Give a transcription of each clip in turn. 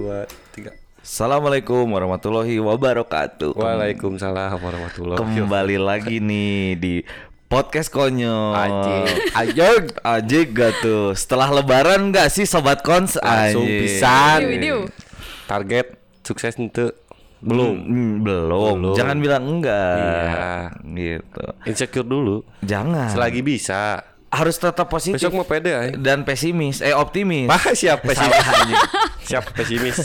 dua tiga Assalamualaikum warahmatullahi wabarakatuh. Waalaikumsalam warahmatullahi Kembali lagi nih di podcast konyol. Anjing. Ajeng, ajeng gak tuh. Setelah lebaran gak sih sobat kons? Langsung Anjing. Hmm, pisan. Iu, iu. Target sukses ente Belum. belum. Hmm, belum. Belum. Jangan bilang Iya. enggak. Gitu. Insecure dulu. Jangan. Selagi bisa. harus tetap positif Besok mau pede ay. dan pesimis. Eh optimis. Pak siap pesimis. Salah, anjing. siap pesimis.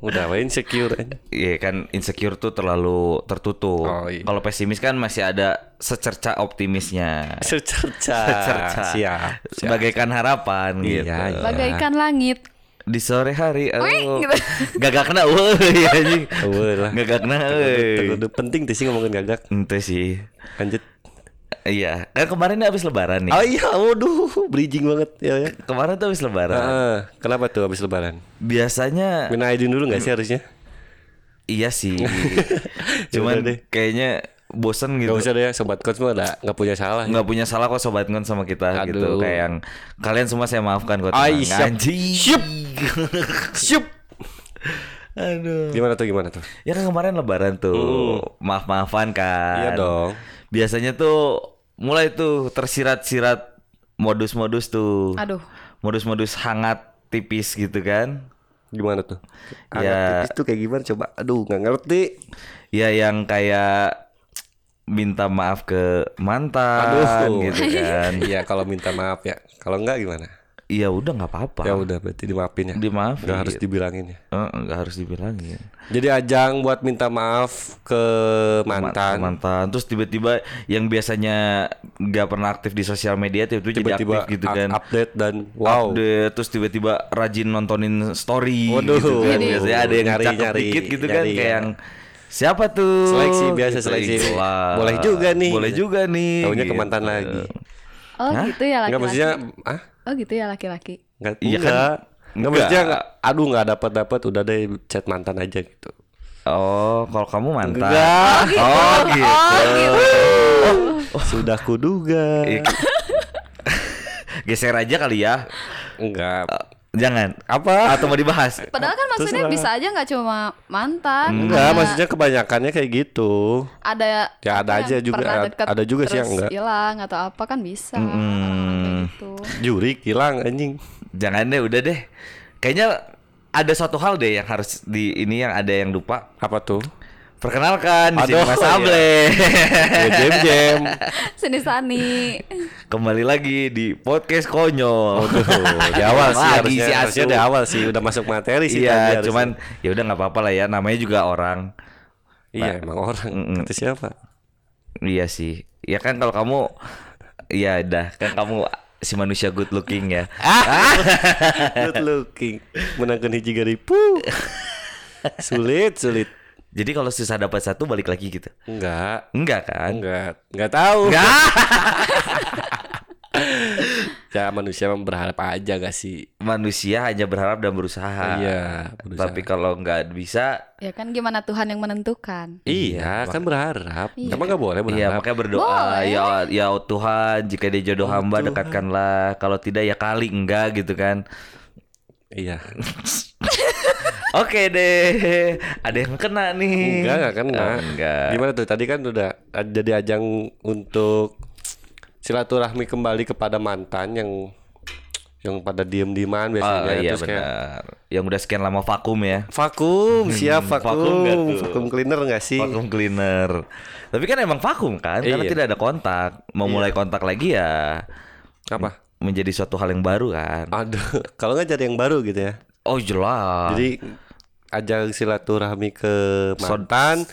Udah we insecure. ay. Iya kan insecure tuh terlalu tertutup. Oh, iya. Kalau pesimis kan masih ada secerca optimisnya. Secerca. Secerca. Siap. siap. Bagaikan harapan Iya, gitu. iya. Bagaikan langit. Di sore hari Wih, aduh. gitu. Gagak kena weh anjing. Eueuh lah. Gagak kena Tunggu, euy. tunggu. penting tuh sih ngomongin gagak. Ente sih. Lanjut. Iya, kan kemarin habis lebaran nih. Oh iya, waduh, bridging banget ya ya. Kemarin tuh habis lebaran. Heeh, kenapa tuh habis lebaran? Biasanya Minta izin dulu nggak sih harusnya? iya sih. Cuman Yaudah deh. kayaknya bosen gitu. Gak usah deh, sobat coach mah ada- nggak punya salah. nggak punya salah kok sobat ngon sama kita Aduh. gitu kayak yang kalian semua saya maafkan kok Ay, siap. anjing Siap. Siup. aduh Gimana tuh gimana tuh? ya kan kemarin lebaran tuh maaf maafan kan Mm. Iya dong. biasanya tuh mulai tuh tersirat-sirat modus-modus tuh Aduh. modus-modus hangat tipis gitu kan Gimana tuh? Ya. Ya. Itu kayak gimana coba? Aduh, nggak ngerti. ya yang kayak minta maaf ke mantan gitu kan Iya, kalau minta maaf ya. Kalau enggak gimana? ya udah nggak apa-apa Ya udah berarti dimaafin ya. Dimaafin. Nggak harus dibilangin ya. Eh, nggak harus dibilangin Jadi ajang buat minta maaf ke mantan. mantan terus tiba-tiba yang biasanya nggak pernah aktif di sosial media tiba-tiba jadi aktif Tiba-tiba gitu up- kan update dan wow. Update, terus tiba-tiba rajin nontonin story Waduh. gitu kan. biasanya ada yang Nyari, cakep nyari, dikit gitu kan nyari, kayak ya. yang siapa tuh Seleksi, biasa seleksi. ih, jelas. Boleh juga nih. boleh juga nih Taunya ke gitu. mantan lagi. Oh gitu ya Enggak laki-laki. maksudnya ah? Oh gitu ya laki-laki. Nggak, Iya enggak. kan? Enggak. Enggak maksudnya enggak, aduh enggak dapat dapat udah deh chat mantan aja gitu. oh kalau kamu mantan Enggak. oh gitu Oh gitu. Sudah kuduga. Iya. geser aja kali ya Enggak. jangan Apa? atau mau dibahas Padahal kan maksudnya Terserah. bisa aja nggak cuma mantan. Enggak, Ada- maksudnya kebanyakannya kayak gitu. ada Ya, ada yang aja juga, pernah ada- deket, ada juga sih yang terus enggak. Hilang atau apa kan bisa. Kayak gitu. Jurik hilang anjing. Hmm, Jangan deh, udah deh. Kayaknya ada satu hal deh yang harus di ini yang ada yang lupa. Apa tuh? Perkenalkan di sini Aduh, Mas iya. Able. Ya jam jam. Sini Sani. Kembali lagi di podcast konyol. di awal sih Lagi harusnya, si harusnya Asu. di awal sih udah masuk materi sih tadi Iya, harusnya. cuman ya udah nggak apa-apa lah ya. Namanya juga orang. iya emang orang Mm-mm. kata siapa? Iya sih. Ya kan kalau kamu, ya dah kan kamu si manusia good looking ya. Good looking. Menangkan hiji garipu. sulit, sulit. Jadi kalau susah dapat satu balik lagi gitu. Enggak. Enggak kan? Enggak, enggak tahu. Enggak. Ya manusia mah berharap aja gak sih? Manusia hanya berharap dan berusaha. Iya, berusaha. Tapi kalau nggak bisa, Ya kan gimana Tuhan yang menentukan. Iya, kan berharap. Emang gak boleh berharap. Iya makanya berdoa Boleh. ya ya Tuhan jika dia jodoh Oh, hamba dekatkanlah kalau tidak ya kali enggak gitu kan Iya. oke deh ada yang kena nih Enggak, kan enggak kena. Oh, enggak Gimana tuh? Tadi kan udah jadi ajang untuk silaturahmi kembali kepada mantan yang yang pada diem-dieman Oh, biasanya iya terus kayak benar yang udah sekian lama vakum ya vakum siap vakum vakum vakum, nggak tuh? cleaner nggak sih vakum cleaner tapi kan emang vakum kan karena Iya. tidak ada kontak mau mulai kontak lagi ya apa menjadi suatu hal yang baru kan aduh kalau nggak cari yang baru gitu ya oh jelas jadi ajang silaturahmi ke mantan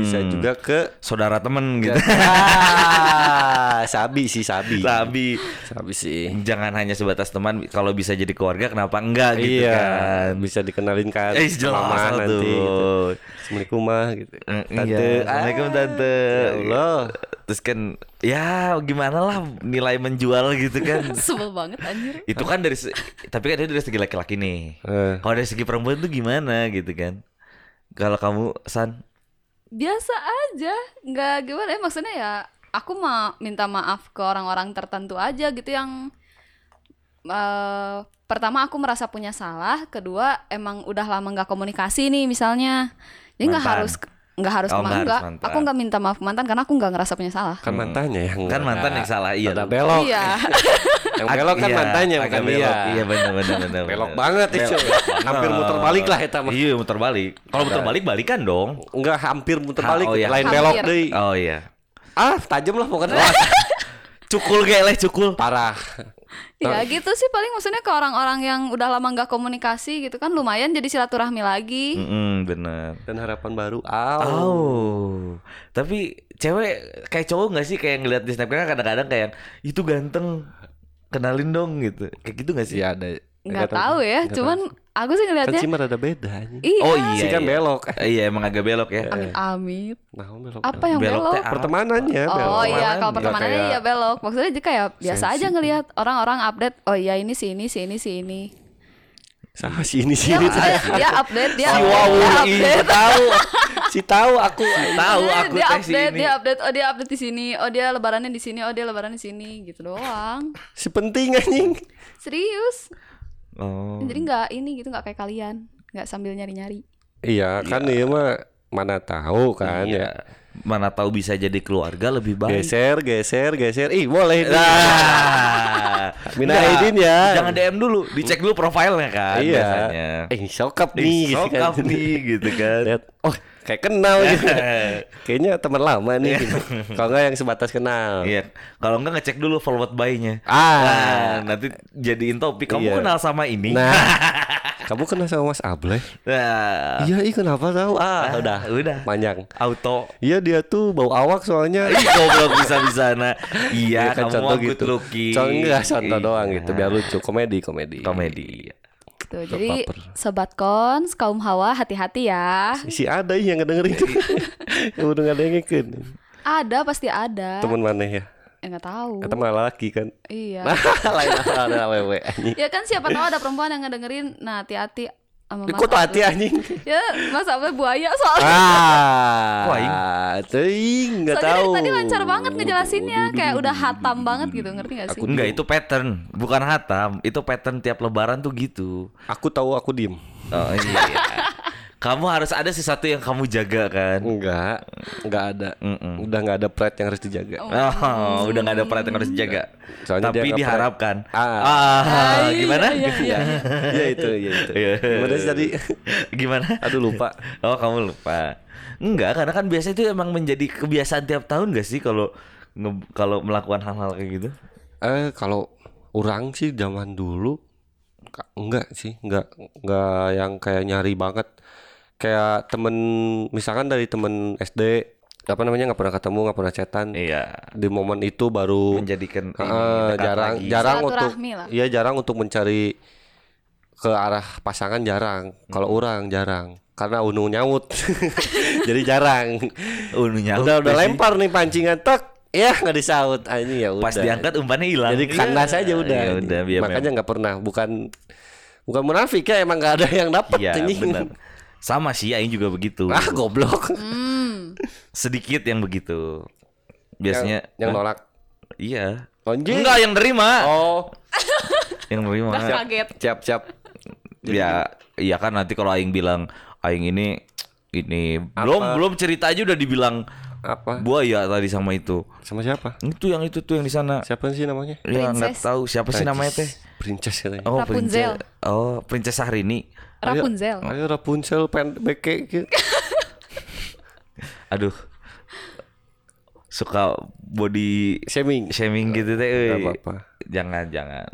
bisa juga ke saudara temen gitu Ah, sabi sih sabi tapi sabi sih jangan hanya sebatas teman kalau bisa jadi keluarga kenapa enggak gitu iya, kan bisa dikenalin kan. Eh, sama jelas mama tuh. gitu. Assalamualaikum mah gitu. Eh, Tante, iya. ah, Assalamualaikum tante. ya Allah. Terus kan ya gimana lah nilai menjual gitu kan. Sebel banget anjir. itu kan dari se- tapi kan itu dari segi laki-laki nih. Eh. Kalau dari segi perempuan tuh gimana gitu kan. Kalau kamu San biasa aja nggak gimana ya maksudnya ya aku mah minta maaf ke orang-orang tertentu aja gitu yang eh, pertama aku merasa punya salah, kedua emang udah lama nggak komunikasi nih misalnya. Jadi nggak Mantan. harus nggak harus Oh, kema- nggak harus nggak. mantan. Aku nggak minta maaf ke mantan karena aku nggak ngerasa punya salah. kan mantannya yang Kan mantan yang salah, iya. ada belok Iya. yang belok kan Iya, mantannya agak bukan belok. dia Iya Ah. benar benar benar. belok benar. banget itu hampir muter balik lah eta mah. Iya muter balik. Kalau muter balik balikan dong. enggak hampir muter Ha, balik oh, iya. lain Hampir. belok deh Oh iya. ah tajam lah pokoknya Cukul kayak leh cukul. parah Ya gitu sih paling maksudnya ke orang-orang yang udah lama nggak komunikasi gitu kan lumayan jadi silaturahmi lagi. Mm bener. dan harapan baru au Oh, tapi cewek kayak cowok nggak sih kayak ngeliat di snapgram kadang-kadang kayak itu ganteng kenalin dong gitu kayak gitu nggak sih? sih Iya, ada Nggak tahu ya, cuman aku sih kan ngelihatnya cimar ada beda anjing. iya. Oh iya. si kan iya. belok Eh, Iya emang agak belok ya. Amit. nah belok Apa yang Belok belok? teh apa? pertemanannya Ya, belok Oh iya, Pertemanan kalau juga pertemanannya kayak ya belok. Maksudnya dia kayak biasa aja sensitif. ngelihat orang-orang update. Oh iya ini si ini si ini si ini. sama si ini si Dia, ini dia, dia update, dia Si update, Wawu dia ini update. tahu, si tahu aku tahu aku dia teh si update, ini. dia update, oh dia update di sini, oh dia lebarannya di sini, oh dia lebaran di sini, gitu doang. si penting anjing Serius? Oh. Jadi nggak ini gitu, nggak kayak kalian, nggak sambil nyari-nyari. iya kan iya mah mana tahu kan ya Iya. Mana tahu bisa jadi keluarga lebih baik. geser geser geser ih boleh nih. Nah, Minta Nggak, izin ya. Jangan DM dulu, dicek dulu profilnya kan iya biasanya. eh sokap Ih, nih gitu sokap kan. nih Iya. gitu kan. Lihat, oh kayak kenal gitu kayaknya teman lama nih gitu. kalau nggak yang sebatas kenal Iya, kalau enggak ngecek dulu forward by-nya. ah Nah, nanti jadiin topik kamu Iya. kenal sama ini. nah kamu kenal sama Mas Ableh Nah, iya ih kenapa tahu ah udah udah. panjang Auto iya dia tuh bau awak soalnya Ih, goblok bisa bisa nah. Iya, kan kamu mau good looking. Contoh enggak contoh Iya. doang gitu biar lucu komedi komedi. komedi. Tuh, gitu. jadi baper. sobat kons, kaum hawa hati-hati ya. Si ada ih yang ngedengerin. yang udah ngedengerin. Ada pasti ada. Temen mana ya? Ya nggak tahu. Kata malah laki kan. Iya. Lain masalah ada wewe anjing. Ya kan siapa tahu ada perempuan yang ngedengerin. Nah, hati-hati sama Mas. Ikut tuh hati Abdul. anjing. Ya, Mas Abdul buaya soalnya. Ah. Wah, ing. Teuing enggak Soalnya dari tahu. tadi lancar banget ngejelasinnya, kayak udah hatam banget gitu, ngerti gak sih? Enggak, itu pattern, bukan hatam. Itu pattern tiap lebaran tuh gitu. Aku tahu aku diem. Oh iya. kamu harus ada sesuatu yang kamu jaga kan. Enggak, enggak ada. Mm-mm. Udah enggak ada pride yang harus dijaga. Oh, udah nggak ada perat yang harus dijaga. Soalnya Tapi dia nggak diharapkan. Ah. Ah, gimana? Iya, iya, iya. Iya itu, iya itu. Iya. Gimana sih tadi? gimana? Aduh lupa. Oh, kamu lupa. Enggak, karena kan biasanya itu emang menjadi kebiasaan tiap tahun gak sih kalau nge- kalau melakukan hal-hal kayak gitu? Eh kalau orang sih zaman dulu ka- enggak sih, enggak enggak yang kayak nyari banget. Kayak temen misalkan dari temen SD apa namanya nggak pernah ketemu nggak pernah chatan Iya. di momen itu baru Menjadikan ini Heeh, dekat jarang lagi. jarang untuk Silaturahmi lah. iya jarang untuk mencari ke arah pasangan jarang kalau Hmm. orang jarang karena unu nyaut jadi jarang Unu nyaut udah udah pasti. lempar nih pancingan tek ya nggak disaut anjing ya udah Pas diangkat umpannya hilang. jadi kandas aja udah Iya, udah biar makanya nggak pernah bukan bukan munafik ya emang nggak ada yang dapet Iya anjing. benar. Sama sih Aing juga begitu. ah goblok Hmm. Sedikit yang begitu. Biasanya yang, yang Hah? nolak Iya. anjing Enggak yang nerima. oh Yang nerima. Udah kaget. siap siap Ya iya kan nanti kalau aing bilang aing ini ini belum belum cerita aja udah dibilang apa buaya tadi sama itu. sama siapa Itu yang itu tuh yang di sana. siapa sih namanya Ya nggak Princess. tahu siapa sih namanya teh. princess katanya Oh, Rapunzel. Princess- Oh, Princess Syahrini. Rapunzel. Ayo Rapunzel pendek gitu. Aduh. Suka body Shaming. shaming gitu teh. euy. Gak apa-apa. Jangan jangan.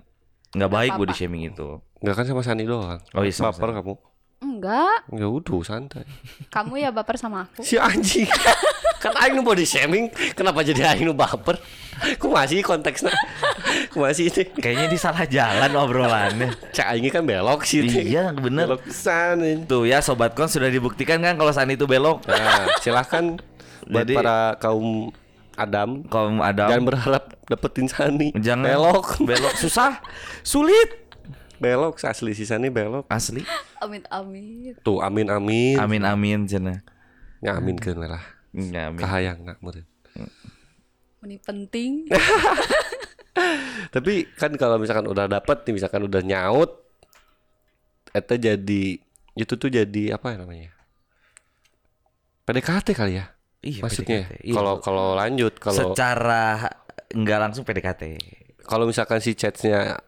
Nggak baik body shaming itu. Enggak kan sama Sani doang. Oh, iya, sama Baper kamu. Enggak, Ya udah santai. kamu ya baper sama aku. Si anjing. kan aing nu body shaming, kenapa jadi aing nu baper? Ku masih konteksnya. Ku masih ini. Kayaknya di salah jalan obrolannya. Cak aing kan belok sih. teh. Iya, bener. Belok pisan. ini. Tuh ya sobat kon sudah dibuktikan kan kalau Sani itu belok. Nah, silahkan buat Jadi- para kaum Adam Kalau ada jangan berharap dapetin Sani. Jangan belok, belok susah, sulit belok asli si Sani belok. asli. Amit amit. Tuh amin amin. Amin amin cina. Ya amin lah. Nggak, Amin. Kahayang nak meureun. Ini penting. Tapi kan kalau misalkan udah dapet nih misalkan udah nyaut eta jadi itu tuh jadi apa ya namanya? PDKT kali ya Iya, maksudnya. PDKT. Iya. Kalau kalau lanjut kalau secara nggak langsung PDKT. kalau misalkan si chatsnya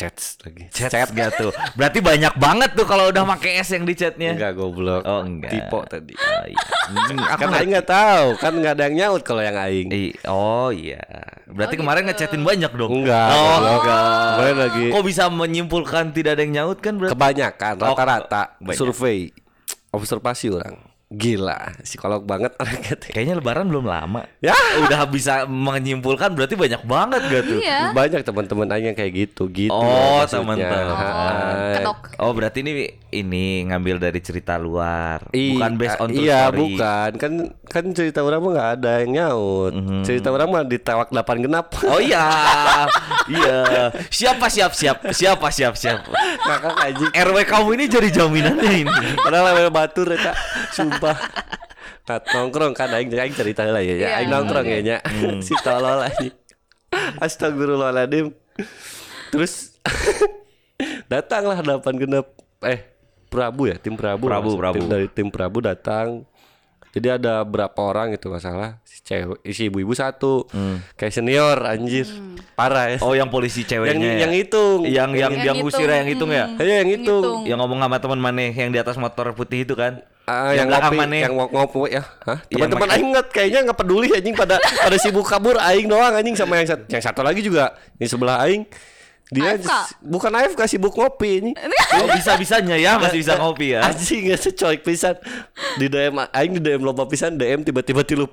chats lagi. Chat nggak tuh. Berarti banyak banget tuh kalau udah pakai S yang di chatnya. Enggak goblok. Oh, enggak. Tipo tadi. Oh, iya. Hmm, aku kan nggak- aing nggak tahu, kan nggak ada yang nyaut kalau yang aing. I- oh iya. Berarti Oh, gitu. kemarin ngechatin banyak dong. Enggak, Oh, goblok. Kemarin lagi Kok bisa menyimpulkan tidak ada yang nyaut kan berarti? kebanyakan Oh, rata-rata banyak. survei observasi orang. Gila, psikolog banget orangnya teh. Kayaknya lebaran belum lama. Ya. Udah bisa menyimpulkan berarti banyak banget gak tuh? Iya. Banyak teman-teman aing yang kayak gitu, gitu. Oh, maksudnya. teman-teman. Hai. Kedok. Oh berarti ini ini ngambil dari cerita luar, I- bukan based on true Iya, story. bukan. Kan kan cerita orang mah nggak ada yang nyaut. Mhm. Cerita orang mah ditewak delapan genap. Oh iya, iya. Siapa siap siap, siapa siap siap. Kakak anjing. RW kamu ini jadi jaminannya ini. Padahal level batur eta. Sumpah. Nah, nongkrong kan aing aing cerita lah ya. ya. Iya. Aing nongkrong ya nya. Hmm. si tolol anjing. Astagfirullahaladzim. Terus datanglah delapan genap eh Prabu ya, tim Prabu. Mas. Prabu, Prabu. Tim dari tim Prabu datang. Jadi ada berapa orang itu masalah si cewek si ibu-ibu satu. Kayak senior anjir. Parah ya. Hmm. Oh yang polisi ceweknya. yang ya? yang hitung. yang yang Yang yang hitung, usirnya yang hitung ya. Iya, yang hitung. Yang ngomong sama teman maneh yang di atas motor putih itu kan. Ah, yang belakang ngopi, maneh. yang ngo- ngopi ya. Hah? Iya, Teman-teman makanya. aing nggak kayaknya nggak peduli anjing pada pada sibuk kabur aing doang anjing sama yang satu. Yang satu lagi juga di sebelah aing. Dia AFK. s- bukan AFK sibuk ngopi ini. Oh bisa-bisanya ya masih bisa ngopi ya. Anjing nggak secoik pisan. Di DM a- aing di DM loba pisan DM tiba-tiba 30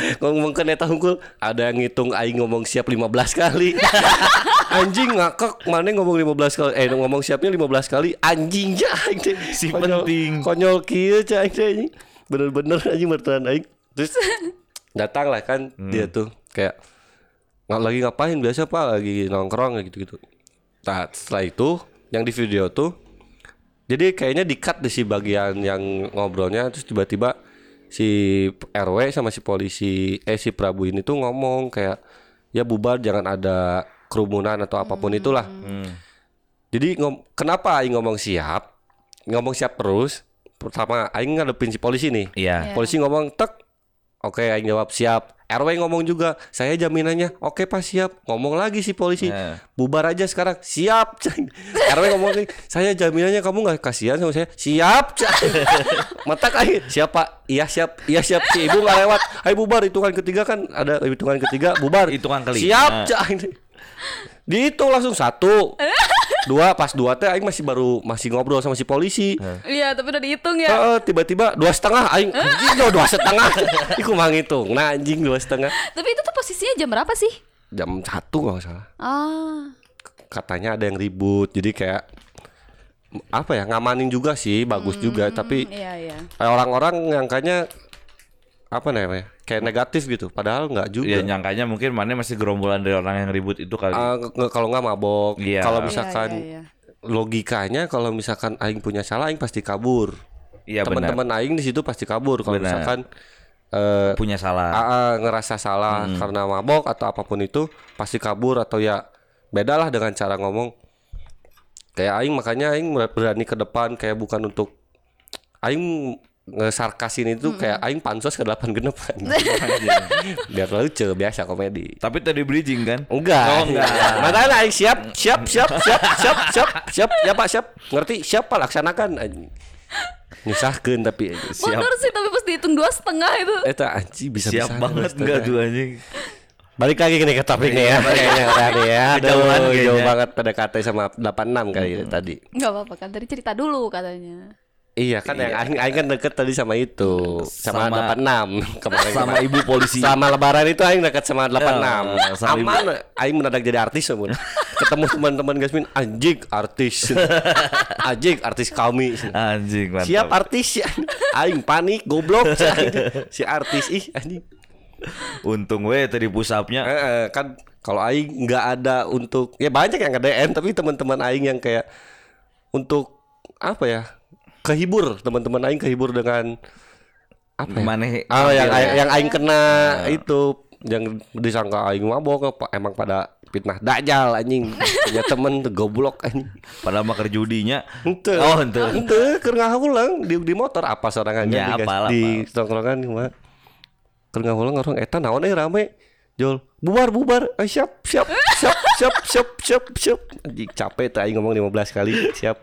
ngomong ke neta hungkul ada yang ngitung aing ngomong siap 15 kali. anjing ngakak mana ngomong 15 kali eh ngomong siapnya 15 kali anjingnya aing teh. Si Konyol- penting. Konyol kieu cah aing teh anjing. Bener-bener anjing bertahan aing. Terus datang lah kan Hmm. dia tuh kayak nggak lagi ngapain biasa pak lagi nongkrong kayak gitu-gitu. Nah, setelah itu yang di video tuh jadi kayaknya di-cut di si bagian yang ngobrolnya terus tiba-tiba si RW sama si polisi eh si Prabu ini tuh ngomong kayak ya bubar jangan ada kerumunan atau apapun itulah. Hmm, Jadi ngom kenapa aing ngomong siap? Ngomong siap terus. Pertama aing ngadepin si polisi nih. Iya. Iya. Polisi ngomong tek. Oke, aing jawab siap. RW ngomong juga, saya jaminannya. Oke, Pak, siap. Ngomong lagi si polisi. Nah. Bubar aja sekarang. Siap, Cang. RW ngomong lagi, saya jaminannya kamu nggak kasihan sama saya. Siap, Cang. Mata kali. Siap, Pak. Iya, siap. Iya, siap. Si ibu nggak lewat. Ayo bubar hitungan ketiga kan ada hitungan ketiga bubar. Iya. Hitungan kelima. Siap, Cang. Dihitung langsung satu. Dua pas dua teh aing masih baru masih ngobrol sama si polisi. Iya, tapi udah dihitung ya. Heeh, tiba-tiba dua setengah aing anjing dua, dua setengah iku mah ngitung nah anjing dua setengah Tapi itu tuh posisinya jam berapa sih? jam satu kalau nggak salah Ah. katanya ada yang ribut jadi kayak apa ya ngamanin juga sih bagus juga tapi Iya, iya. eh, orang-orang yang kayaknya apa namanya kayak negatif gitu padahal nggak juga Ya nyangkanya mungkin maneh masih gerombolan dari orang yang ribut itu kali. Ah, nge- kalau nggak mabok Iya. kalau Iya, misalkan Iya, iya, iya. logikanya kalau misalkan aing punya salah aing pasti kabur Iya benar. teman-teman aing di situ pasti kabur kalau Benar. misalkan eh, Punya salah. Aa ngerasa salah Hmm. karena mabok atau apapun itu pasti kabur atau ya bedalah dengan cara ngomong kayak aing makanya aing mer- berani ke depan kayak bukan untuk aing ngesarkasin itu kayak aing pansos ke delapan genep biar lucu biasa komedi Tapi tadi bridging kan? enggak Oh, enggak. makanya aing siap siap siap siap siap siap siap ya pak siap ngerti siapa laksanakan anjing nyusahkeun tapi anjing. Siap. Mundur sih tapi pas dihitung dua setengah itu. Eta anjing bisa ya. Siap banget enggak tuh anjing. Balik lagi nih ke topik nih ya kayaknya tadi ya. Kejauhan Aduh, jauh kayaknya. banget PDKT sama 86 kali ya tadi. Gak apa-apa kan tadi cerita dulu katanya. Iya kan yang aing aing kan deket tadi sama itu sama, Sama- 86 kemarin. Sama kemarin. ibu polisi. Sama lebaran itu aing deket sama 86. Ya, sama ibu. Aman aing mendadak jadi artis semua. Ketemu teman-teman Gasmin anjing artis. anjing artis kami. Anjing mantap. Siap artis aing panik goblok si artis ih anjing. Untung we tadi pusapnya. Eh, eh, kan kalau aing nggak ada untuk ya banyak yang nge-DM tapi teman-teman aing yang kayak untuk apa ya? Kehibur, teman-teman aing kehibur dengan apa ya? Maneh Ah, yang aing, yang aing kena itu yang disangka aing mabok apa emang pada fitnah dajal anjing punya temen tuh goblok anjing Padahal mah kerjudinya. Ente. Oh, henteu. keur ngahulang di, di motor apa sorangan Ya, di, apal, di apal. tongkrongan cuma keur ngahulang orang eta naon eh rame jol bubar bubar eh, siap siap siap siap siap siap siap anjing capek teh aing ngomong 15 kali siap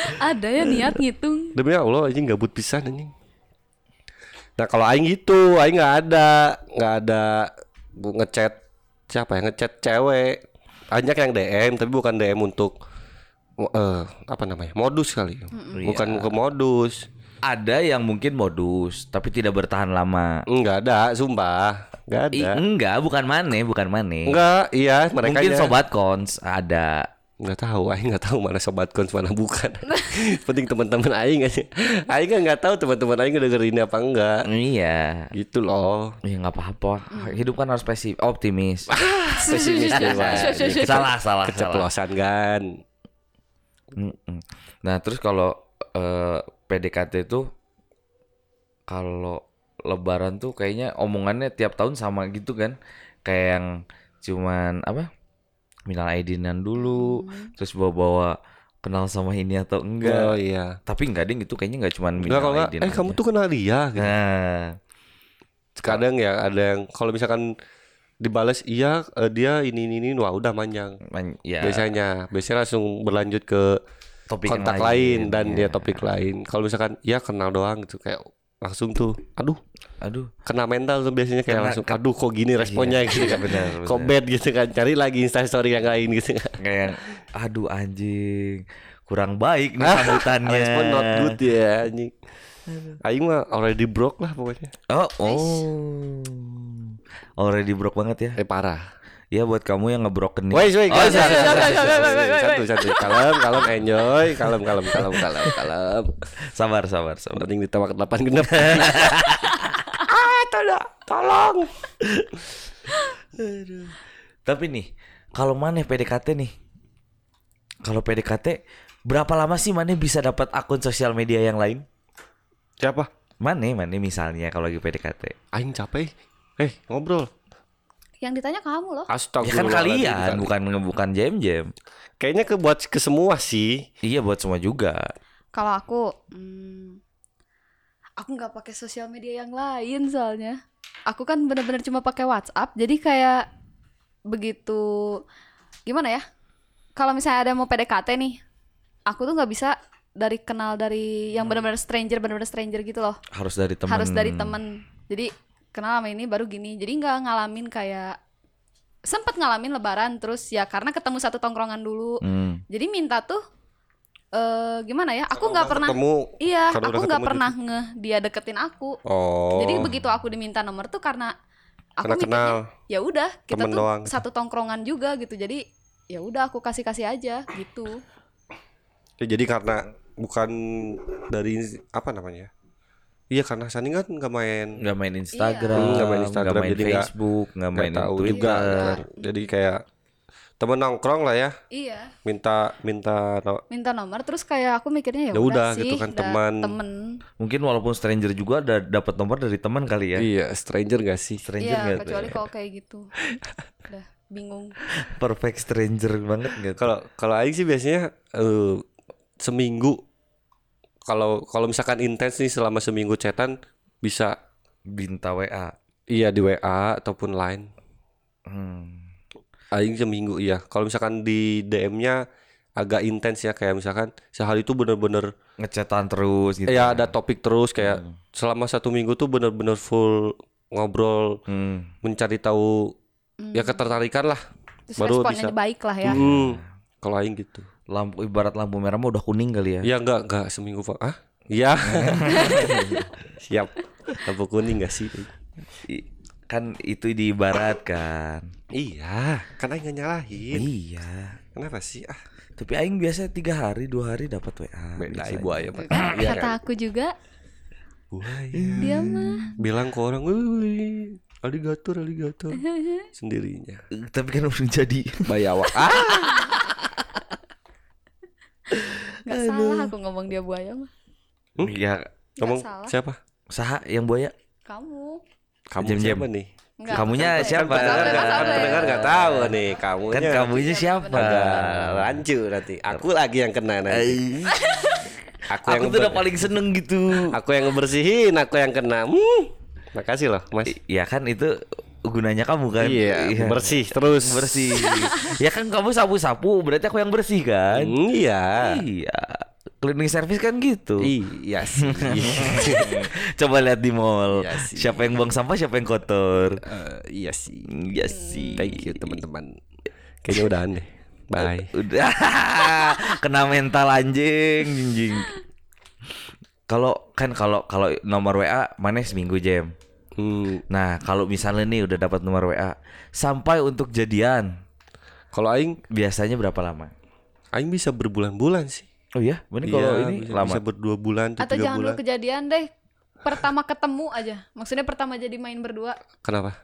Ada ya niat ngitung. demi Allah anjing gabut pisan anjing nah kalau aing gitu aing nggak ada nggak ada bu ngechat siapa ya ngechat cewek banyak yang DM tapi bukan DM untuk mo- eh apa namanya modus kali bukan ke modus Ada yang mungkin modus, tapi tidak bertahan lama. nggak ada sumpah nggak I, ada enggak, bukan mane, bukan mane. nggak iya mereka Mungkin ya. sobat cons ada. nggak tahu aing nggak tahu mana sobat kons mana bukan penting teman-teman aing aja aing kan nggak tahu teman-teman aing dengerin apa enggak Iya. gitu loh Ya nggak apa-apa. Hidup kan harus pesif, optimis. Pesimis deh, Iya, Pak. salah, salah, salah. keceplosan kan Mm-mm. Nah, terus kalau eh, PDKT itu kalau lebaran tuh kayaknya omongannya tiap tahun sama gitu kan. Kayak yang cuman apa? Minal aidinan dulu, terus bawa-bawa kenal sama ini atau Oh Hmm. enggak. iya. Tapi enggak ding itu kayaknya enggak cuman Enggak minal kalau nggak, aidin. eh kamu aja. tuh kenal dia gitu. Nah, Kadang ya ada yang kalau misalkan dibales iya eh, dia ini ini ini wah udah manjang. man- ya Biasanya biasanya langsung berlanjut ke topik yang kontak lain, dan ya. dia topik lain. Kalau misalkan iya kenal doang gitu kayak langsung tuh aduh Aduh, kena mental tuh biasanya kayak Kena- langsung ke- Iya, aduh kok gini responnya gitu kan benar. kok bad gitu kan cari lagi instastory yang lain gitu kan kayak aduh anjing kurang baik nih sambutannya respon not good ya anjing Aing mah already broke lah pokoknya oh oh already broke banget ya eh parah ya buat kamu yang ngebroken nih Woi, woi, oh, guys, sorry, sorry, sorry. satu, satu, kalem, kalem, enjoy, kalem, kalem, kalem, kalem, kalem. sabar sabar sabar Penting ditawak delapan genep. ah, tolong, tolong. tapi nih kalau mana PDKT nih kalau PDKT berapa lama sih mana bisa dapat akun sosial media yang lain Siapa? mana mana misalnya kalau lagi PDKT Aing capek. Eh, ngobrol. Yang ditanya kamu loh. ya kan Astagfirullah. kalian bukan bukan jam jam Kayaknya ke buat ke semua sih. iya buat semua juga Kalau aku, hmm, aku nggak pakai sosial media yang lain soalnya. Aku kan bener-bener cuma pakai WhatsApp. Jadi kayak begitu gimana ya? Kalau misalnya ada yang mau PDKT nih, aku tuh nggak bisa dari kenal dari yang bener-bener stranger, bener-bener stranger gitu loh. harus dari teman Harus dari temen. Jadi kenal sama ini baru gini. Jadi nggak ngalamin kayak sempet ngalamin Lebaran terus ya karena ketemu satu tongkrongan dulu. Hmm. Jadi minta tuh eh gimana ya? Aku nggak pernah Ketemu. Iya, Kalau udah aku nggak ketemu pernah ngeh dia deketin aku. Oh. Jadi begitu aku diminta nomor tuh karena Karena aku mikirnya, kenal. ya udah kita Temen tuh doang. satu tongkrongan juga gitu. Jadi ya udah aku kasih-kasih aja gitu. Ya, jadi karena bukan dari apa namanya? Iya karena Sani kan nggak main nggak main Iya. Instagram, nggak Nggak main main Instagram, jadi nggak- Facebook, nggak nggak main tahu Twitter. juga kan. jadi kayak temen nongkrong lah ya Iya, minta minta no- minta nomor terus kayak aku mikirnya ya Ya udah udah gitu sih, kan, udah teman. temen. Mungkin walaupun stranger juga ada dapat nomor dari teman kali ya. iya stranger gak sih Stranger Iya, nggak tuh kecuali ya? kalau kayak gitu. udah bingung. perfect stranger banget nggak? tuh? kalau kalau Aing sih biasanya eh, seminggu kalau kalau misalkan intens nih selama seminggu chatan bisa Binta WA. iya di WA ataupun line Hmm. Aing seminggu iya kalau misalkan di DM-nya agak intens ya kayak misalkan sehari itu bener-bener Ngechatan terus gitu. ya Hmm. ada topik terus kayak selama satu minggu tuh bener-bener full ngobrol Hmm. mencari tahu Hmm. ya ketertarikan lah Terus baru responnya bisa. baik lah ya. Hmm, kalau aing gitu. Lampu ibarat lampu merah mah udah kuning kali ya. Ya enggak enggak seminggu Pak. Ah? Iya. Siap. Lampu kuning enggak sih? I- Kan itu diibaratkan. Iya, kan aing nggak nyalahin. Iya. Kenapa sih? Ah, Tapi aing biasa tiga hari dua hari dapat WA. beda biasanya. ibu ayo Pak. Iya Kata kan? aku juga, Buaya. dia mah Bilang ke orang, "Wih, aligator, aligator." Sendirinya. Eh, Tapi kan udah jadi. Bayawa. Ah, nggak salah aku ngomong dia buaya mah. Hmm? Iya. Nggak ngomong salah. siapa? Saha yang buaya Kamu. Kamu Jam-jam. siapa nih? Enggak, Kamunya santai. siapa? pendengar nggak- Santai, kan Mas, santai. pendengar nggak tahu nih kamunya Kan kamunya siapa? agak rancu nanti aku lagi yang kena nanti Eh, aku, yang Aku tuh udah ber- paling seneng gitu. aku yang ngebersihin aku yang kena hmm. makasih loh mas Ya kan itu gunanya kamu kan. iya bersih terus bersih. ya kan kamu sapu-sapu, berarti aku yang bersih kan? Hmm, iya Iya. Cleaning service kan gitu. iya sih Coba lihat di mall. Iya sih. Siapa yang buang sampah, siapa yang kotor. Eh, iya sih gitu. Iya sih. thank you teman-teman kayaknya udah aneh bye Udah kena mental anjing, anjing. Kalau kan kalau kalau nomor WA mana seminggu jam. hmm. Nah, kalau misalnya nih udah dapat nomor WA sampai untuk jadian kalau aing biasanya berapa lama? aing bisa berbulan-bulan sih Oh iya, Iya, bener kalau ini bisa, lama. bisa berdua bulan tuh Atau tiga jangan bulan dulu kejadian deh. Pertama ketemu aja. Maksudnya pertama jadi main berdua. kenapa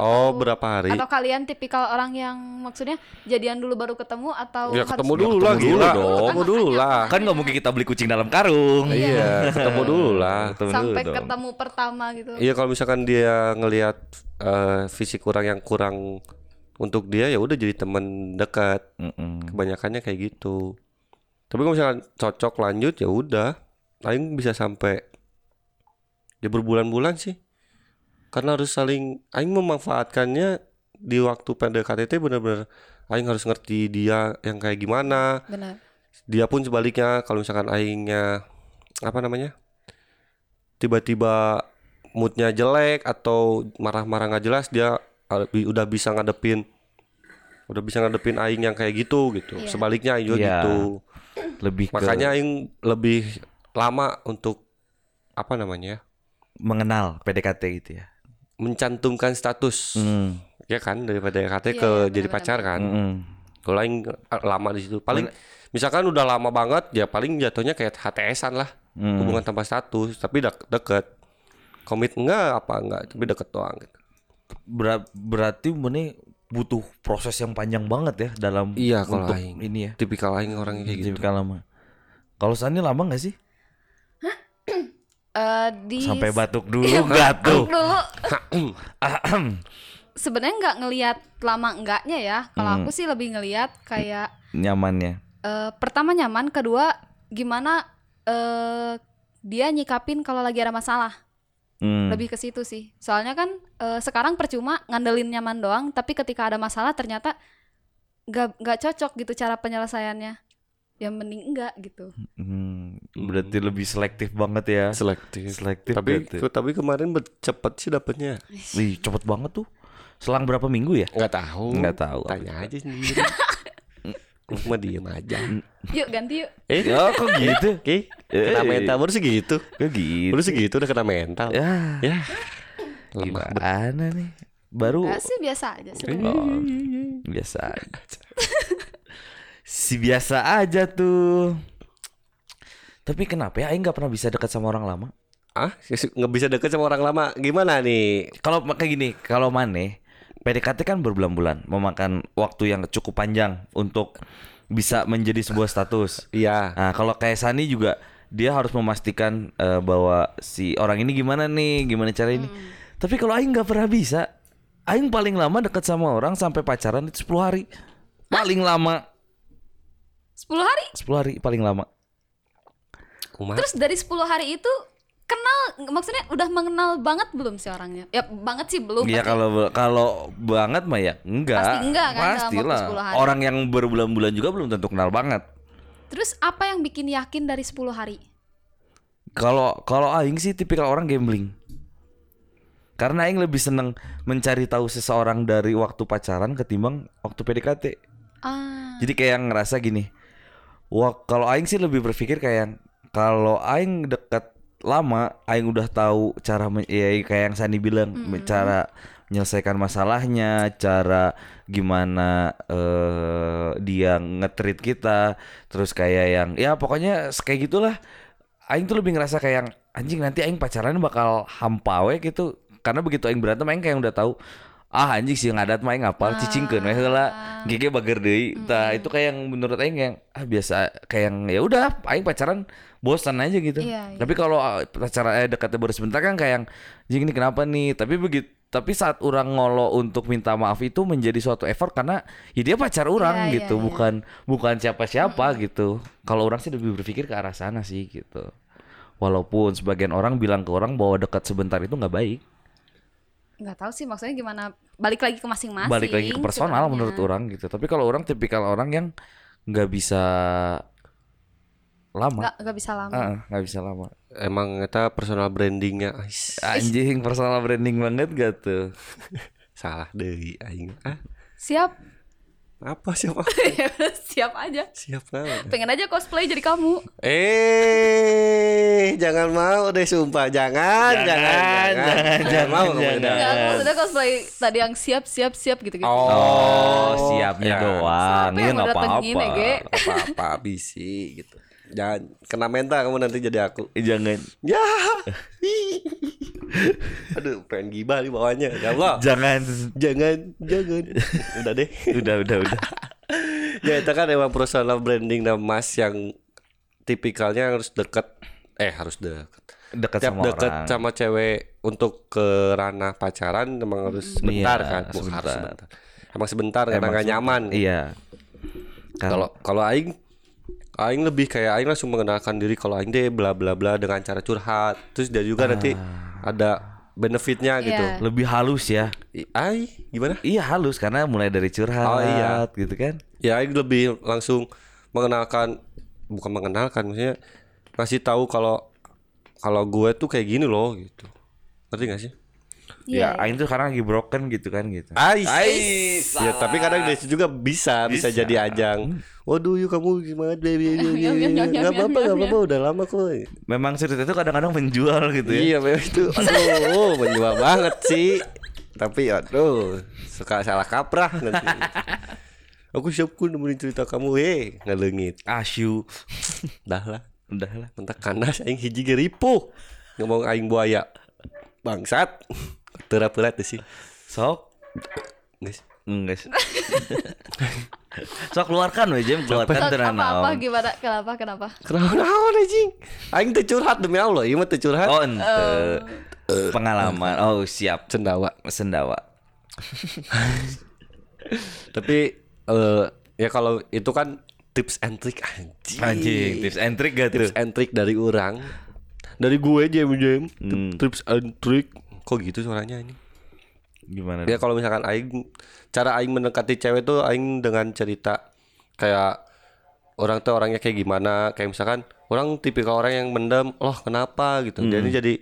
oh Atau- berapa hari Atau kalian tipikal orang yang maksudnya jadian dulu baru ketemu atau ya harus- ketemu dulu lah ketemu dulu gila dong. ketemu dulu lah Kan nggak mungkin kita beli kucing dalam karung. iya ketemu dulu lah Ketemu dulu sampai dong. ketemu pertama gitu. iya kalau misalkan dia ngelihat eh, fisik kurang yang kurang untuk dia ya udah jadi teman dekat Mm-mm. kebanyakannya kayak gitu tapi kalau misalkan cocok lanjut ya udah Aing bisa sampai ya berbulan-bulan sih karena harus saling Aing memanfaatkannya di waktu PDKT itu bener-bener Aing harus ngerti dia yang kayak gimana Benar. dia pun sebaliknya kalau misalkan aingnya apa namanya tiba-tiba moodnya jelek atau marah-marah nggak jelas dia al- bi- udah bisa ngadepin udah bisa ngadepin aing yang kayak gitu gitu Iya. sebaliknya aing juga Iya. gitu Lebih ke makanya aing lebih lama untuk apa namanya ya, mengenal PDKT gitu ya. mencantumkan status Mm. ya kan daripada Iya, KT ke iya, jadi benar-benar. pacar kan Mm-mm. kalau aing eh, lama di situ paling misalkan udah lama banget ya paling jatuhnya kayak HTS-an lah Mm. hubungan tanpa status tapi dek- deket komit enggak apa enggak tapi deket doang gitu. Bera- berarti mene butuh proses yang panjang banget ya dalam Iya, kalau untuk aing. ini ya. tipikal lain orang kayak gitu Tipikal lama. Kalau Sani lama nggak sih? Eh, di Sampai batuk dulu batuk. dulu Ahem. sebenarnya nggak ngelihat lama enggaknya ya. Hmm. Kalau aku sih lebih ngelihat kayak Nyamannya. eh, pertama nyaman, kedua gimana eh dia nyikapin kalau lagi ada masalah. Mm. lebih ke situ sih soalnya kan eh, sekarang percuma ngandelin nyaman doang tapi ketika ada masalah ternyata nggak nggak cocok gitu cara penyelesaiannya yang mending enggak gitu Hmm, berarti lebih selektif banget ya. selektif Selektif tapi berarti. tapi kemarin be- cepet sih dapetnya Wih, cepet banget tuh. Selang berapa minggu ya? nggak tahu Nggak tahu. tanya aja sendiri Aku mah diem aja yuk ganti yuk eh Hmm. Ya kok gitu? oke kena Eh. mental baru segitu Kok gitu? baru segitu udah kena mental Ya, ya lemah gimana nih? Baru Nggak sih biasa aja sebenarnya Oh, biasa aja. si biasa aja tuh. Tapi kenapa ya Aing nggak pernah bisa dekat sama orang lama? ah nggak bisa deket sama orang lama gimana nih Kalau kayak gini, kalau Mane PDKT kan berbulan-bulan, memakan waktu yang cukup panjang untuk bisa menjadi sebuah status. iya Nah, kalau kayak Sani juga dia harus memastikan eh, bahwa si orang ini gimana nih, gimana cara ini. Hmm. Tapi kalau Aing nggak pernah bisa, Aing paling lama dekat sama orang sampai pacaran itu 10 hari. Paling lama 10 hari 10 hari paling lama. Kumaha? terus dari 10 hari itu kenal maksudnya udah mengenal banget belum sih orangnya ya banget sih belum Iya pasti. kalau kalau banget mah ya enggak. Pasti enggak kan dalam waktu Pastilah. 10 hari. Orang yang berbulan-bulan juga belum tentu kenal banget. terus apa yang bikin yakin dari 10 hari Kalau kalau aing sih tipikal orang gambling. Karena aing lebih seneng mencari tahu seseorang dari waktu pacaran ketimbang waktu PDKT. ah Jadi kayak yang ngerasa gini. Wah, kalau aing sih lebih berpikir kayak yang, kalau aing dekat lama, aing udah tahu cara men- ya kayak yang Sani bilang, cara menyelesaikan masalahnya, cara gimana eh, dia ngetrit kita, terus kayak yang ya pokoknya kayak gitulah. Aing tuh lebih ngerasa kayak yang, anjing nanti aing pacaran bakal hampa we gitu. Karena begitu aing berantem aing kayak udah tahu ah anjing sih ngadat mah aing ngapal cicingkeun we Ah. heula gigi bager deui Tah, itu kayak yang menurut aing yang ah biasa kayak yang ya udah aing pacaran bosan aja gitu Iya, iya. tapi kalau ah, pacaran eh dekatnya baru sebentar kan kayak yang anjing ini kenapa nih tapi begitu tapi saat orang ngolo untuk minta maaf itu menjadi suatu effort karena ya dia pacar orang Iya, gitu iya, iya. bukan bukan siapa-siapa gitu kalau orang sih lebih berpikir ke arah sana sih gitu walaupun sebagian orang bilang ke orang bahwa dekat sebentar itu nggak baik nggak tahu sih maksudnya gimana balik lagi ke masing-masing kan, ya. balik lagi ke personal sebenarnya. menurut orang gitu tapi kalau orang tipikal orang yang nggak bisa lama nggak nggak bisa lama Ah, nggak bisa lama Emang kita personal brandingnya ais, anjing personal branding banget gak tuh salah deh aing. Ah, siap apa siapa? siap aja Siap naon? pengen aja cosplay jadi kamu Eh, jangan mau deh sumpah, jangan, jangan, Jangan, jangan, jangan, jangan, mau kamu jangan. jangan. nggak aku maksudnya cosplay tadi yang siap siap siap gitu gitu oh siapnya ya. doang Siapa ya yang nggak udah datengin ya, apa-apa Ge? Apa-apa bisi gitu. Jangan kena mental kamu nanti jadi aku. jangan Ya. Ih. Aduh, pengen gibah di bawahnya. Ya Allah. jangan Jangan, jangan. Udah deh. udah udah udah ya itu kan emang personal branding dan mas yang tipikalnya harus dekat eh harus dekat. dekat Tiap sama deket orang sama cewek untuk ke ranah pacaran emang harus sebentar Iya, kan. Bukan harus sebentar. sebentar. Emang sebentar karena Emang nggak sebentar. nyaman. iya Kan- Kalau kalau aing aing lebih kayak aing langsung mengenalkan diri kalau aing deh bla bla bla dengan cara curhat. Terus dia juga nanti Ah. ada benefitnya Iya. gitu. lebih halus ya I- Ai, gimana? iya halus karena mulai dari curhat Oh, iya. gitu kan Ya aing lebih langsung mengenalkan bukan mengenalkan maksudnya ngasih tahu kalau kalau gue tuh kayak gini loh gitu. Ngerti gak sih? ya Iya. Aing tuh sekarang lagi broken gitu kan gitu Ais. Ya tapi Ah. kadang dia juga bisa, bisa, Bisa. jadi ajang. Waduh, yuk kamu gimana? Gak Nyam, nyam, nyam, nyam, apa-apa, nyam, gak apa-apa, udah lama kok. memang cerita itu kadang-kadang menjual gitu ya Iya memang itu Aduh menjual banget sih Tapi aduh Suka salah kaprah nanti Aku siap kun nemenin cerita kamu Hei ngelengit asyu Dah lah udah lah Mentak kandas aing hiji ge ripuh Ngomong aing buaya Bangsat Terapelat sih sok Guys enggak sih. sok keluarkan we Jem keluarkan apa tenan apa gimana kenapa kenapa Kenapa naon anjing Aing teu curhat demi Allah Ieu mah teu curhat oh ente pengalaman oh siap Cendawa sendawa Tapi eh, Ya kalau itu kan Tips and trick anjing anjing tips and trick gak tuh tips and trick dari orang dari gue jam jam tips and trick kok gitu suaranya ini gimana ya kalau misalkan aing cara aing mendekati cewek tuh aing dengan cerita kayak orang tuh orangnya kayak gimana kayak misalkan orang tipikal orang yang mendem loh kenapa gitu jadi Hmm. jadi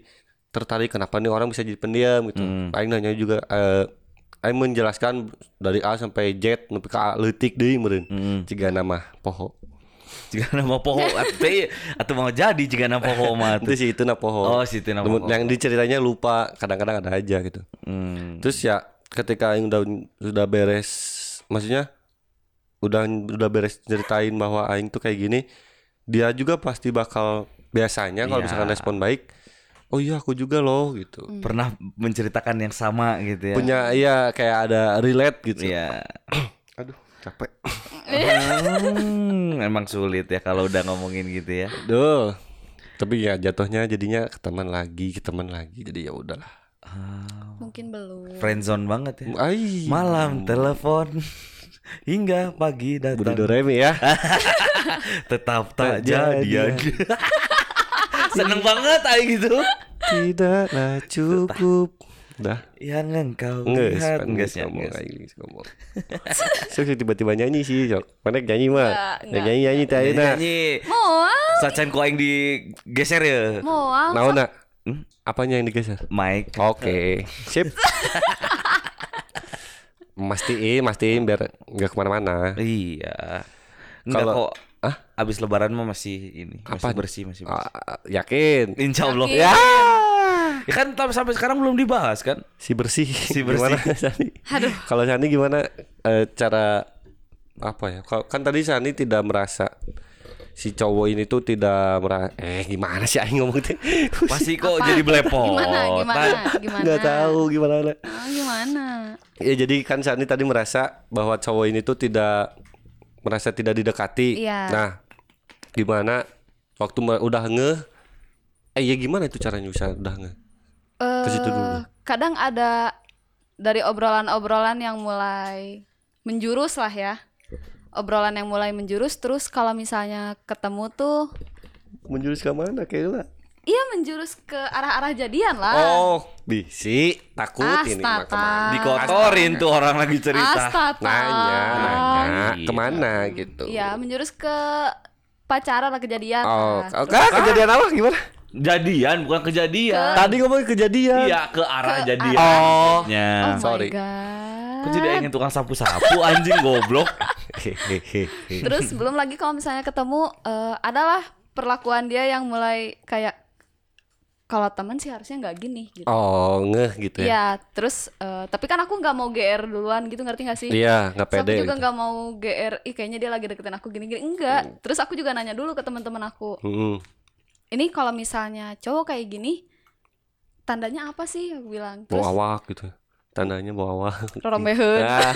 tertarik kenapa nih orang bisa jadi pendiam gitu aing nanya juga eh, aing menjelaskan dari A sampai Z nepi ka leutik deui meureun Hmm. Jika nama poho jika nama poho atau atau mau jadi jika nama poho mah itu tuh. sih itu na poho oh situ nama Namun poho yang diceritanya lupa kadang-kadang ada aja gitu Hmm. terus ya ketika Aing udah sudah beres maksudnya udah udah beres ceritain bahwa Aing tuh kayak gini dia juga pasti bakal biasanya kalau Iya. misalkan respon baik oh iya aku juga loh gitu pernah menceritakan yang sama gitu ya punya iya kayak ada relate gitu Iya. aduh capek Hmm, emang sulit ya kalau udah ngomongin gitu ya Duh. tapi ya jatuhnya jadinya ke teman lagi ke teman lagi jadi ya udahlah Ah. mungkin belum friendzone banget ya Ai, Malam telepon hingga pagi Budi datang Doremi ya tetap Tak tak jadian. jadian. Seneng banget aing gitu. tidaklah cukup dah Yang engkau Nges, lihat pengen enggak nges sih ngomong aing geus ngomong. Sok sok tiba-tiba nyanyi sih, sok. Mana nyanyi mah. Enggak, enggak. Nyanyi nyanyi teh ayeuna. Nyanyi moal Sacan ku aing digeser ya moal Naona? Hmm? Apanya yang digeser? Mike Oke, sip. Mastiin, mastiin biar nggak kemana-mana. Iya Enggak Kalau- kok Abis lebaran mah masih ini Apa? Masih bersih masih bersih Ah, yakin? Insya Allah Yakin. ya. ya kan tapi sampai sekarang belum dibahas kan Si bersih. Si Gimana bersih. Sani? Aduh. Kalau Sani gimana eh, cara apa ya? Kalau kan tadi Sani tidak merasa si cowok ini tuh tidak merasa eh gimana sih aing ngomong teh? Pasti kok Apa? jadi Nah. belepotan gimana gimana gimana Nggak tahu gimana. Ah, gimana Ya jadi kan Sani tadi merasa bahwa cowok ini tuh tidak merasa tidak didekati. Iya. Nah, gimana waktu me- udah ngeh eh ya gimana itu caranya bisa udah ngeh? Eh, situ dulu. kadang ada dari obrolan-obrolan yang mulai menjurus lah ya obrolan yang mulai menjurus terus kalau misalnya ketemu tuh Menjurus ke mana Kayla? iya menjurus ke arah-arah jadian lah Oh, bisi takut ini mah Ah. Astaga. kemana? Dikotorin tuh orang lagi cerita. Ah. Astaga. Nanya, nanya, Iya. kemana gitu? Ah, Iya, menjurus ke pacaran lah kejadian. Nah, Oh, lah. oke kejadian apa gimana? Jadian bukan Ah. kejadian. Tadi ngomong kejadian. Iya ke arah jadian. Oh. Oh Nya. sorry. my god. Kok jadi ingin tukang sapu-sapu anjing goblok. Hehehe. Terus belum lagi kalau misalnya ketemu eh, adalah perlakuan dia yang mulai kayak kalau teman sih harusnya nggak gini gitu. oh, ngeh gitu ya. Iya, terus eh, tapi kan aku nggak mau GR duluan gitu ngerti gak sih? Iya, nggak Terus pede aku juga gitu. nggak mau GR, ih kayaknya dia lagi deketin aku gini-gini. Hmm. Enggak. Terus aku juga nanya dulu ke teman-teman aku. Mm-mm. Ini kalau misalnya cowok kayak gini tandanya apa sih? Aku bilang. Bawa Terus awak gitu. Tandanya bawa awak. rorombeheun. Ah,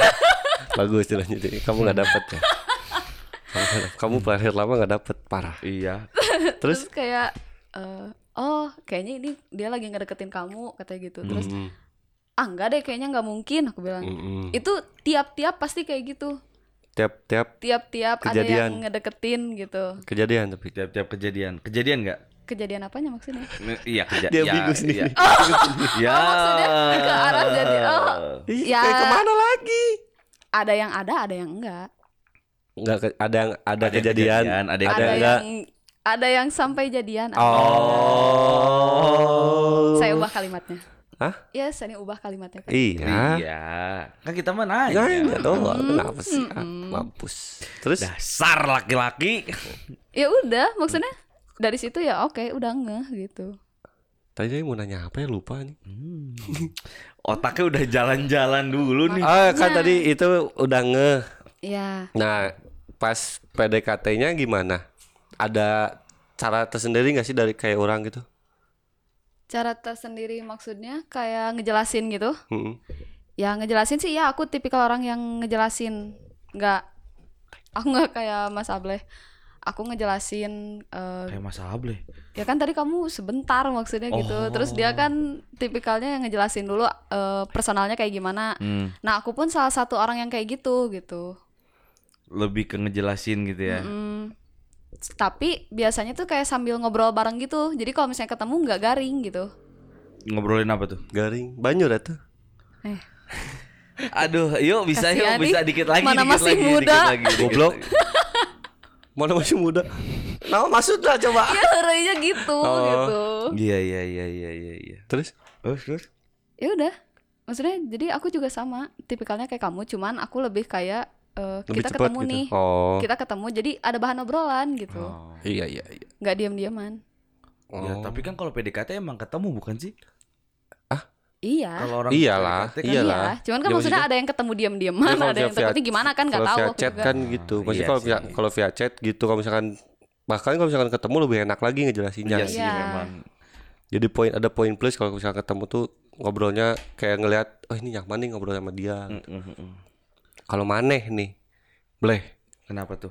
bagus istilahnya jadi kamu nggak dapet ya. Kamu nggak dapet. Kamu terakhir lama nggak dapet parah. iya. Nah, Terus terus kayak eh, oh kayaknya ini dia lagi ngedeketin kamu katanya gitu terus Mm-mm. ah enggak deh kayaknya nggak mungkin aku bilang Mm-mm. itu tiap-tiap pasti kayak gitu tiap-tiap tiap-tiap ada yang Kejadian. ngedeketin gitu kejadian tapi Tiap-tiap kejadian. Kejadian nggak? kejadian apanya maksudnya Me- Iya kejadian. Dia bingung sendiri. Ya. Oh, maksudnya ke arah jadi- oh. Ih, Ya. kayak kemana lagi? ada yang ada ada yang enggak Nggak ke- ada yang ada, Ada yang kejadian, kejadian, ada yang ada, ada yang yang nggak? ada yang sampai jadian ada yang Oh. enggak. saya ubah kalimatnya Hah? ya saya ubah kalimatnya kan. Iya. Iya. Kan kita mah nanya. Nanya dong, kenapa sih? Ah, mampus. Terus Dasar laki-laki. ya udah maksudnya dari situ ya oke udah ngeh gitu tadi saya mau nanya apa ya lupa nih. Hmm. Otaknya udah jalan-jalan dulu nih. Ah, kan Iya. tadi itu udah ngeh. ya Nah, pas PDKT-nya gimana? Ada cara tersendiri nggak sih dari kayak orang gitu? cara tersendiri maksudnya kayak ngejelasin gitu Mm-mm. ya ngejelasin sih ya aku tipikal orang yang ngejelasin nggak aku nggak kayak Mas Ableh aku ngejelasin eh, Kayak Mas Able. ya kan tadi kamu sebentar maksudnya gitu terus dia kan tipikalnya yang ngejelasin dulu eh, personalnya kayak gimana Hmm. nah aku pun salah satu orang yang kayak gitu gitu Lebih ke ngejelasin gitu ya. Mm, tapi biasanya tuh kayak sambil ngobrol bareng gitu jadi kalau misalnya ketemu nggak garing gitu Ngobrolin apa tuh? Garing, banjur itu. eh Aduh, yuk bisa Kasihan yuk bisa nih. dikit lagi. Mana dikit masih lagi, muda. Dikit lagi, dikit Goblok. lagi. Mana masih muda? Nah, maksudnya coba. ya hurainya gitu Oh. gitu Iya iya iya iya iya. iya. Terus Terus terus. ya udah maksudnya jadi aku juga sama tipikalnya kayak kamu cuman aku lebih kayak eh, lebih kita cepat ketemu gitu. nih Oh. kita ketemu jadi ada bahan obrolan gitu Oh. Iya, iya, iya. Oh. nggak diam-diaman Ya, tapi kan kalau PDKT emang ketemu bukan sih? iya Kalau orang Iyalah, PDKT kan iyalah. cuman kan Ya, maksudnya maksudnya- ada yang ketemu diam-diaman Iya, kalau ada yang via- tapi gimana kan nggak kalau tahu via aku chat juga. kan gitu maksudnya iya kalau via, sih. kalau via chat gitu kalau misalkan bahkan kalau misalkan ketemu lebih enak lagi ngejelasinnya Iya sih Iya. memang. jadi poin ada poin plus kalau misalkan ketemu tuh ngobrolnya kayak ngelihat oh ini nyaman nih ngobrol sama dia Mm, mm, mm. kalau maneh nih bleh Kenapa tuh?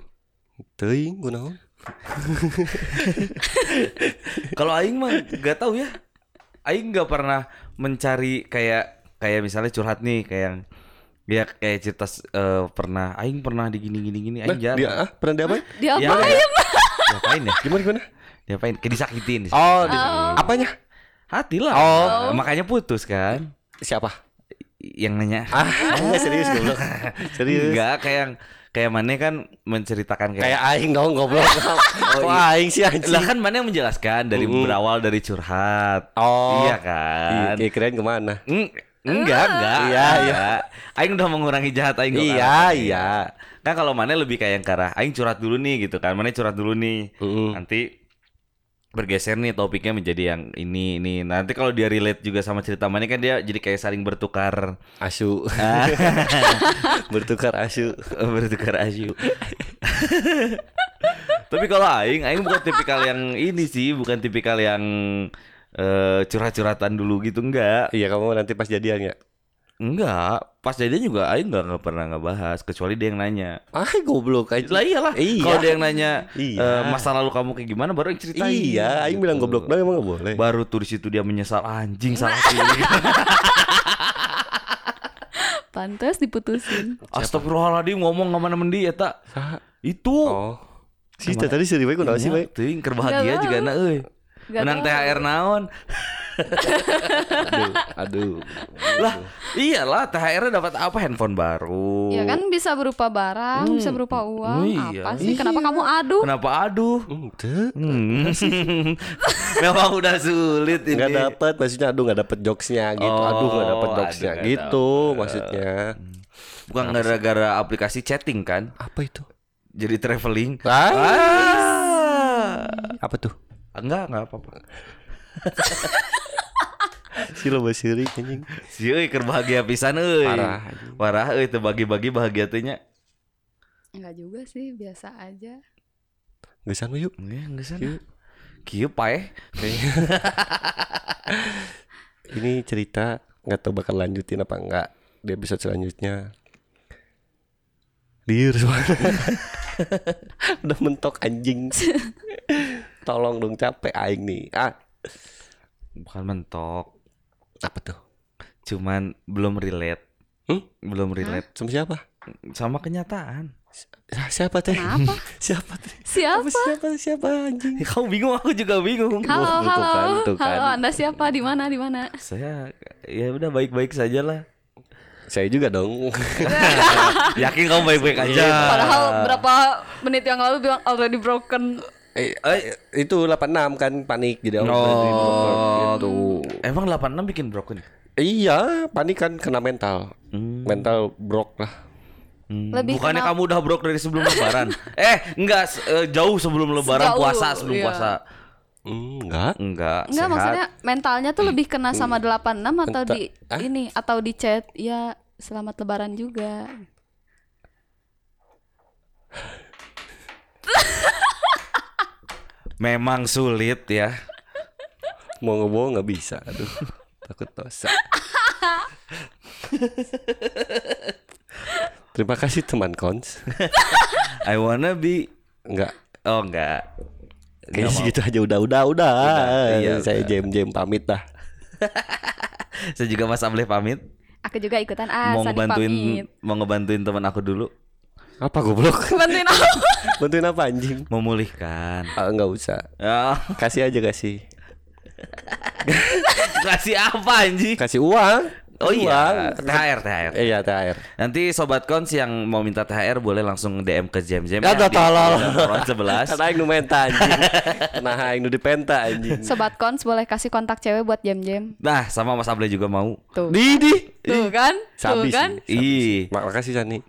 teuing gue naon Kalau aing mah nggak tahu ya. Aing nggak pernah mencari kayak kayak misalnya curhat nih kayak ya kayak cerita s- eh, pernah aing pernah di gini gini gini nah, aing dia jarang. ah, pernah dia apa dia apa Ya, kayak- Diapain ya? gimana gimana Diapain? Kayak disakitin. oh disakitin. apanya Hati lah. Oh. Makanya putus kan. siapa Yang nanya. ah enggak serius goblok serius Enggak kayak kayak mana kan menceritakan kayak kayak aing dong goblok kok aing sih Oh, iya. lah anjing kan mana yang menjelaskan dari Mm. berawal dari curhat. oh Iya kan? iya keren kemana Eng- enggak, enggak. Iya, enggak. Aing udah mengurangi jahat aing kok, Iya, Kak. iya. Kan kalau mana lebih kayak yang ke arah aing curhat dulu nih gitu kan. Mana curhat dulu nih. Mm-mm. Nanti bergeser nih topiknya menjadi yang ini ini. Nanti kalau dia relate juga sama cerita mana kan dia jadi kayak saling bertukar asu bertukar asu Oh, bertukar asu. Tapi kalau aing aing bukan tipikal yang ini sih, bukan tipikal yang eh, curhat-curhatan dulu gitu enggak. Iya kamu nanti pas jadian ya Enggak, pas jadian juga Aing nggak nggak pernah ngebahas kecuali dia yang nanya. Ah goblok aja Lah iyalah. Iya. Kalau dia yang nanya Iya. "Eh, masa lalu kamu kayak gimana baru Aing ceritain. Iya Aing Gitu. bilang goblok doang emang gak boleh Baru tuh di situ dia menyesal anjing salah pilih. Pantes diputusin. Astagfirullahaladzim ngomong sama nemen dia tak. Saha? Itu. Oh. Si teh tadi si Riway kunaon sih, Bay? Teuing keur bahagia Nggak juga na euy. Nggak Menang tahu. THR naon? Aduh, aduh. Lah, iyalah THR-nya dapat apa? Handphone baru. Oh. Ya kan bisa berupa barang, bisa Hmm. berupa uang, iya. apa sih? Kenapa kamu aduh? Kenapa aduh? Ente. Hmm. Memang udah sulit ini. Nggak dapet maksudnya aduh nggak dapet jokesnya gitu aduh nggak dapet Oh, jokesnya aduh, nggak gitu maksudnya Bukan gara-gara aplikasi chatting kan? apa itu Jadi traveling. ah, Ah. apa tuh Enggak, enggak apa-apa. si lo basiri anjing Si euy keur bahagia pisan euy. Parah. Parah euy teu bagi-bagi bahagia teh nya. Enggak juga sih, biasa aja. nggak sana yuk Ya, enggak sana. Kieu eh. paeh. ini cerita nggak tahu bakal lanjutin apa enggak di episode selanjutnya liur suara udah mentok anjing tolong dong capek aing nih ah Bukan mentok, apa tuh cuman belum relate. Hmm? Belum relate sama siapa sama kenyataan. Ah, siapa teh Kenapa? siapa teh Siapa? siapa siapa anjing Ya, Kamu bingung, aku juga bingung. Halo, Tuh halo. kan, tuh kan. Halo, Anda siapa? Di mana? Di mana? Saya ya udah baik-baik saja lah. saya juga dong Yakin kamu baik-baik aja. Padahal berapa menit yang lalu bilang already broken. Eh, eh, itu 86 kan panik jadi aku berhenti broker gitu. Oh. Emang 86 bikin broken? Iya, panik kan kena mental. Hmm. Mental brok lah. Lebih Bukannya kenal- kamu udah broke dari sebelum lebaran? eh, enggak se- eh, jauh sebelum lebaran Sejauh, puasa sebelum iya. puasa. Hmm, enggak. Enggak, Enggak sehat. maksudnya mentalnya tuh lebih kena sama 86 atau Enta- di Hah? ini atau di chat ya selamat lebaran juga. memang sulit ya. Mau ngebohong nggak bisa. Aduh, takut dosa. Terima kasih teman kons. I wanna be Enggak. Oh, enggak. Enggak Kayaknya mau. segitu aja udah udah udah. iya, Saya jam jam pamit dah. Saya juga Mas Amleh pamit. Aku juga ikutan ah mau Sandi ngebantuin pamit. mau ngebantuin teman aku dulu Apa goblok? Bantuin aku. Bantuin apa anjing? memulihkan. Ah, enggak usah. Ya, Kasih aja kasih. kasih apa anjing? Kasih uang. Oh iya, Uang. THR THR. Eh, Iya, THR. Nanti sobat kons yang mau minta THR boleh langsung DM ke Jam Jam Ya, tolol. sebelas. Karena Kan aing nu menta anjing. Nah, aing nu dipenta anjing. Sobat Kons boleh kasih kontak cewek buat jam-jam. Nah, sama Mas Able juga mau. Tuh. Didi. Tuh kan? Tuh Sabi kan? sih. Ih, Mak- Iya. Makasih Sani.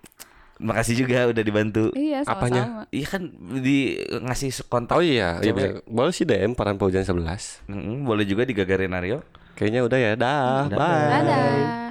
makasih juga udah dibantu. Iya, Apanya? sama-sama. Iya kan di ngasih kontak. Oh iya, iya Cewek. bener. boleh sih DM Paran Paujan 11. Hmm, Mm, boleh juga digagarin Aryo. Kayaknya udah ya, dah. Bye. Dadah.